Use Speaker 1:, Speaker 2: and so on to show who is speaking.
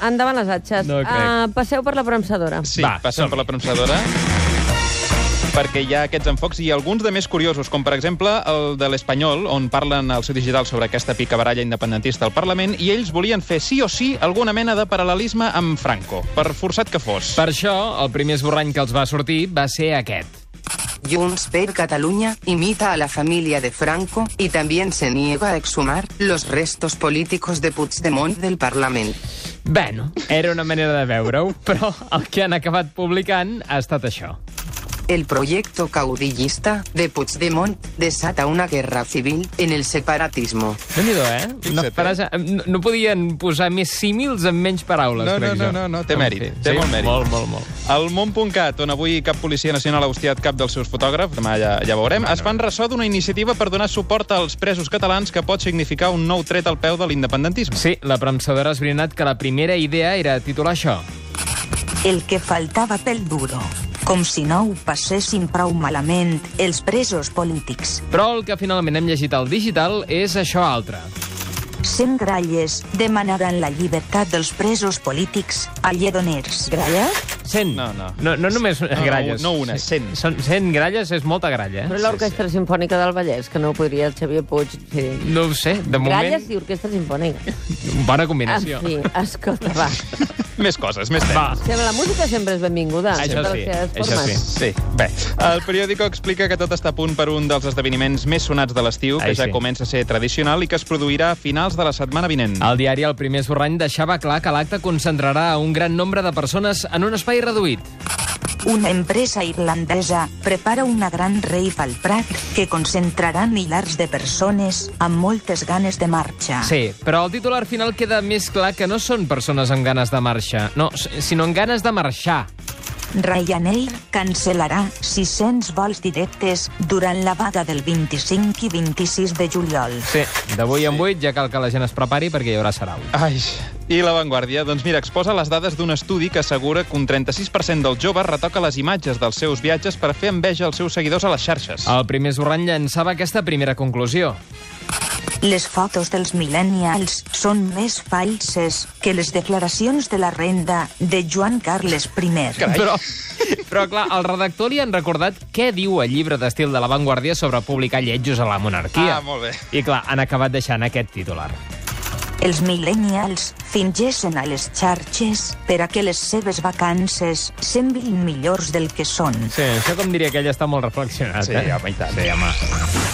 Speaker 1: Endavant les atxes.
Speaker 2: No crec.
Speaker 1: Ah, passeu per la premsadora.
Speaker 3: Sí,
Speaker 2: Va,
Speaker 3: Va, passem
Speaker 2: som-hi.
Speaker 3: per la premsadora perquè hi ha aquests enfocs i alguns de més curiosos, com per exemple el de l'Espanyol, on parlen al seu digital sobre aquesta picabaralla independentista al Parlament i ells volien fer sí o sí alguna mena de paral·lelisme amb Franco, per forçat que fos.
Speaker 2: Per això, el primer esborrany que els va sortir va ser aquest.
Speaker 4: Junts per Cataluña imita a la familia de Franco y también se niega a exhumar los restos políticos de Puigdemont del Parlamento.
Speaker 2: Bueno, era una manera de veure-ho, però el que han acabat publicant ha estat això.
Speaker 4: El proyecto caudillista de Puigdemont desata una guerra civil en el separatismo.
Speaker 2: déu nhi eh? No,
Speaker 3: Fixa't, eh?
Speaker 2: frase, no, no podien posar més símils amb menys paraules,
Speaker 3: No, no,
Speaker 2: crec
Speaker 3: no,
Speaker 2: jo.
Speaker 3: no, no, té
Speaker 2: En
Speaker 3: mèrit,
Speaker 2: fi,
Speaker 3: té molt mèrit.
Speaker 2: Molt, molt, molt.
Speaker 3: Al món.cat, on avui cap policia nacional ha hostiat cap dels seus fotògrafs, demà ja, ja ho veurem, es fan ressò d'una iniciativa per donar suport als presos catalans que pot significar un nou tret al peu de l'independentisme.
Speaker 2: Sí, la premsadora ha esbrinat que la primera idea era titular això.
Speaker 5: El que faltava pel duro, com si no ho passessin prou malament els presos polítics.
Speaker 2: Però el que finalment hem llegit al digital és això altre.
Speaker 5: Cent gralles demanaran la llibertat dels presos polítics a lledoners. Gralles?
Speaker 2: Cent.
Speaker 3: No, no.
Speaker 2: No, no només
Speaker 3: no,
Speaker 2: gralles.
Speaker 3: no una, cent.
Speaker 2: Són cent gralles és molta gralla,
Speaker 1: Però
Speaker 2: eh?
Speaker 1: l'Orquestra Simfònica del Vallès, que no ho podria el Xavier Puig fer.
Speaker 2: No ho sé, de moment...
Speaker 1: Gralles Ah, i Orquestra Simfònica.
Speaker 2: Bona
Speaker 1: En
Speaker 2: combinació.
Speaker 1: fi, escolta, va.
Speaker 3: Més coses, més temes.
Speaker 2: Va,
Speaker 1: Sempre, la música sempre és benvinguda.
Speaker 2: Això
Speaker 1: de les
Speaker 2: sí,
Speaker 1: seves
Speaker 2: això
Speaker 1: formes.
Speaker 2: sí.
Speaker 3: Sí, bé. El periòdico explica que tot està a punt per un dels esdeveniments més sonats de l'estiu, que
Speaker 2: Ai,
Speaker 3: ja
Speaker 2: sí.
Speaker 3: comença a ser tradicional i que es produirà a finals de la setmana vinent.
Speaker 2: El diari El Primer Esborrany deixava clar que l'acte concentrarà a un gran nombre de persones en un espai reduït.
Speaker 5: Una empresa irlandesa prepara una gran rave al Prat que concentrarà milers de persones amb moltes ganes de marxa.
Speaker 2: Sí, però el titular final queda més clar que no són persones amb ganes de marxa, no, s- sinó amb ganes de marxar.
Speaker 5: Ryanair cancel·larà 600 vols directes durant la vaga del 25 i 26 de juliol.
Speaker 2: Sí, d'avui en vuit ja cal que la gent es prepari perquè hi haurà sarau.
Speaker 3: Ai, i La Vanguardia? Doncs mira, exposa les dades d'un estudi que assegura que un 36% dels joves retoca les imatges dels seus viatges per fer enveja als seus seguidors a les xarxes.
Speaker 2: El primer esborrany llançava aquesta primera conclusió.
Speaker 5: Les fotos dels millennials són més falses que les declaracions de la renda de Joan Carles I.
Speaker 2: Però, però, clar, al redactor li han recordat què diu el llibre d'estil de La Vanguardia sobre publicar lletjos a la monarquia.
Speaker 3: Ah, molt bé.
Speaker 2: I, clar, han acabat deixant aquest titular.
Speaker 5: Els millennials fingeixen a les xarxes per a que les seves vacances semblin millors del que són.
Speaker 2: Sí, això com diria que ell està molt reflexionat.
Speaker 3: Sí,
Speaker 2: eh?
Speaker 3: home, i tant.
Speaker 2: Sí, home.